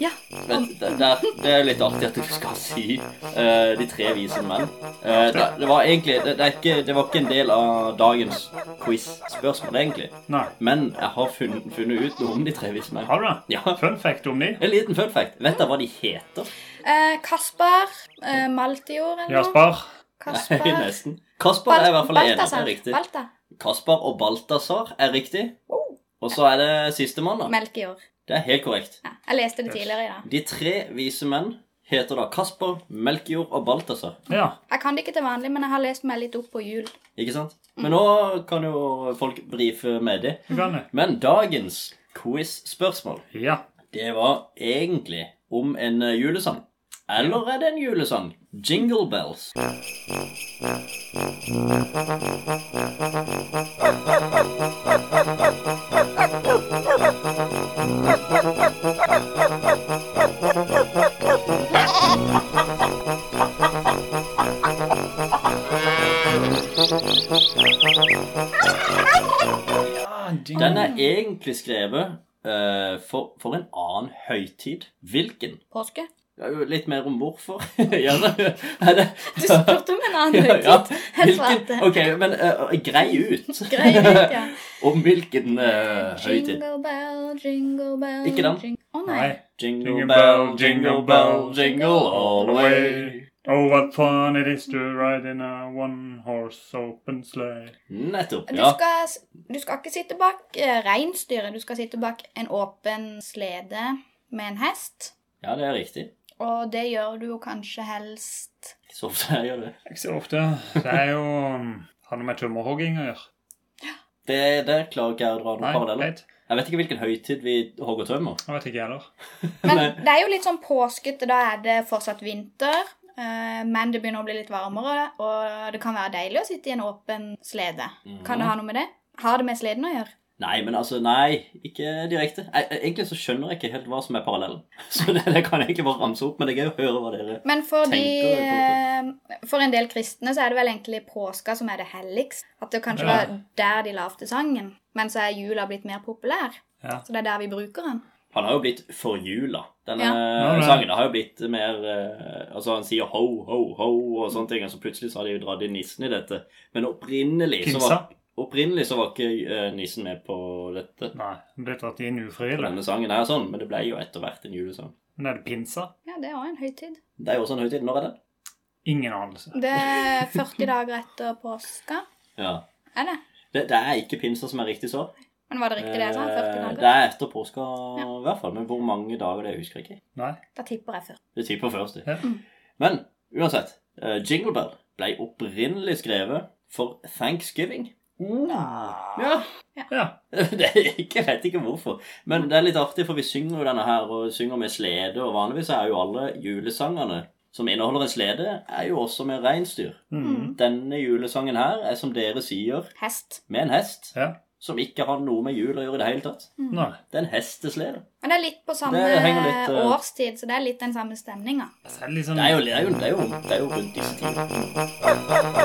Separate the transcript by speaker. Speaker 1: Ja.
Speaker 2: Men det, det, det er litt artig at du skal si eh, de tre vise menn. Eh, det, det var egentlig det, det, er ikke, det var ikke en del av dagens quiz-spørsmål, egentlig.
Speaker 3: Nei.
Speaker 2: Men jeg har funnet, funnet ut noe om de tre vise menn.
Speaker 3: Har du det?
Speaker 2: Ja.
Speaker 3: Fun fact om de?
Speaker 2: En liten fun fact. Vet dere hva de heter?
Speaker 1: Eh, Kaspar. Eh, Maltior eller noe?
Speaker 3: Jasper?
Speaker 1: Kaspar.
Speaker 2: Nei, nesten. Kaspar er i hvert fall
Speaker 1: Bal-
Speaker 2: den ene. Det
Speaker 1: Balthazar.
Speaker 2: er riktig.
Speaker 1: Balta.
Speaker 2: Kaspar og Balthazar er riktig.
Speaker 1: Wow.
Speaker 2: Og så er det sistemann, da.
Speaker 1: Melchior.
Speaker 2: Det er helt korrekt.
Speaker 1: Ja, jeg leste det tidligere i dag.
Speaker 2: De tre vise menn heter da Kaspar, Melkejord og Balthazar.
Speaker 3: Ja.
Speaker 1: Jeg kan det ikke til vanlig, men jeg har lest meg litt opp på jul.
Speaker 2: Ikke sant? Men
Speaker 1: Mm.
Speaker 2: nå kan jo folk brife med de.
Speaker 3: Du kan det.
Speaker 2: Men dagens quiz-spørsmål,
Speaker 3: Ja.
Speaker 2: det var egentlig om en eh, julesang. Eller er det en julesang? Jingle Bells. Den er egentlig skrevet eh, for, for en annen høytid. Hvilken?
Speaker 1: Påske.
Speaker 2: Ja, jo, Litt mer om hvorfor. Gjerne. Er det
Speaker 1: Du spurte om en annen høytid. Jeg svarte.
Speaker 2: Hvilken? Ok, men eh, grei ut.
Speaker 1: Grei ut, ja.
Speaker 2: Om hvilken eh, høytid.
Speaker 1: Jingle bell, jingle bell
Speaker 2: Ikke den.
Speaker 1: jing- Å nei.
Speaker 3: Nei.
Speaker 2: Jingle bell, jingle bell, jingle all the way.
Speaker 3: Oh, what fun it is to ride in a one horse open sleigh.
Speaker 2: Nettopp.
Speaker 1: Du,
Speaker 2: Ja.
Speaker 1: skal, s- du skal ikke sitte bak eh, reinsdyret. Du skal sitte bak en åpen slede med en hest.
Speaker 2: ja, det er riktig.
Speaker 1: Og det gjør du jo kanskje helst
Speaker 2: Så ofte jeg gjør det.
Speaker 3: Ikke så ofte. Det er jo um, Har noe med tømmerhogging å gjøre.
Speaker 2: Det Der klarer ikke jeg å dra noen paralleller.
Speaker 3: greit.
Speaker 2: Jeg vet ikke hvilken høytid vi hogger tømmer.
Speaker 3: Jeg vet ikke jeg heller.
Speaker 2: Nei.
Speaker 1: Men det er jo litt sånn påskete. Da er det fortsatt vinter. eh, Men det begynner å bli litt varmere, og det kan være deilig å sitte i en åpen slede. Kan det ha noe med det? Har det med sleden å gjøre?
Speaker 2: Nei, men altså, nei, ikke direkte. Jeg, jeg- egentlig så skjønner jeg ikke helt hva som er parallellen. Så det, det kan jeg egentlig bare ramse opp, men det er gøy å høre hva dere
Speaker 1: Men for, de,
Speaker 2: Tenker
Speaker 1: eh, for en del kristne så er det vel egentlig påska som er det helligst. At det kanskje
Speaker 3: Ja.
Speaker 1: var der de lagde sangen. Men så er jula blitt mer populær.
Speaker 3: Ja.
Speaker 1: Så det er der vi bruker den.
Speaker 2: Han har jo blitt forjula. Denne
Speaker 1: Ja.
Speaker 3: Ja, det-
Speaker 2: sangen har jo blitt mer eh, Altså, han sier ho, ho, ho og sånne ting, og så plutselig så har de jo dratt inn nissen i dette. Men opprinnelig så var,
Speaker 3: Pinsa?
Speaker 2: opprinnelig så var ikke eh, nissen med på dette.
Speaker 3: Nei. Det ble dratt inn
Speaker 2: På
Speaker 3: ufrivillig.
Speaker 2: denne sangen her sånn, men det ble jo etter hvert en julesang.
Speaker 3: Men er det pinsa?
Speaker 1: Ja, det er òg en høytid.
Speaker 2: Det er jo også en høytid. Når er den?
Speaker 3: Ingen anelse.
Speaker 1: Det er 40 dager etter påska.
Speaker 2: Ja.
Speaker 1: Er det?
Speaker 2: Det, det er ikke pinser som er riktig svar.
Speaker 1: Men var det riktig det sånn? jeg sa? 40
Speaker 2: Eh,
Speaker 1: dager?
Speaker 2: Det er etter påska i hvert fall, men hvor mange dager det husker jeg ikke.
Speaker 3: Nei.
Speaker 1: Da tipper jeg 40.
Speaker 2: Det tipper først.
Speaker 3: Ja.
Speaker 1: Mm.
Speaker 2: Men uansett, eh, Jingle Bell ble opprinnelig skrevet for Thanksgiving. Ja,
Speaker 3: Ja.
Speaker 2: det er ikke, jeg vet ikke hvorfor. Men det er litt artig, for vi synger jo denne her, og synger med slede. Og vanligvis er jo alle julesangene som inneholder en slede, er jo også med reinsdyr.
Speaker 3: Mm.
Speaker 2: Denne julesangen her er, som dere sier,
Speaker 1: Hest.
Speaker 2: med en hest.
Speaker 3: Ja.
Speaker 2: Som ikke har noe med jul å gjøre i det hele tatt.
Speaker 3: Nei.
Speaker 2: Det er en hesteslede.
Speaker 1: Men det er litt på samme
Speaker 2: Det henger litt, eh,
Speaker 1: årstid, så det er litt den samme stemninga.
Speaker 3: Så er det litt sånn
Speaker 2: Det er jo, det er jo, det er jo, det er jo rundt disse tider.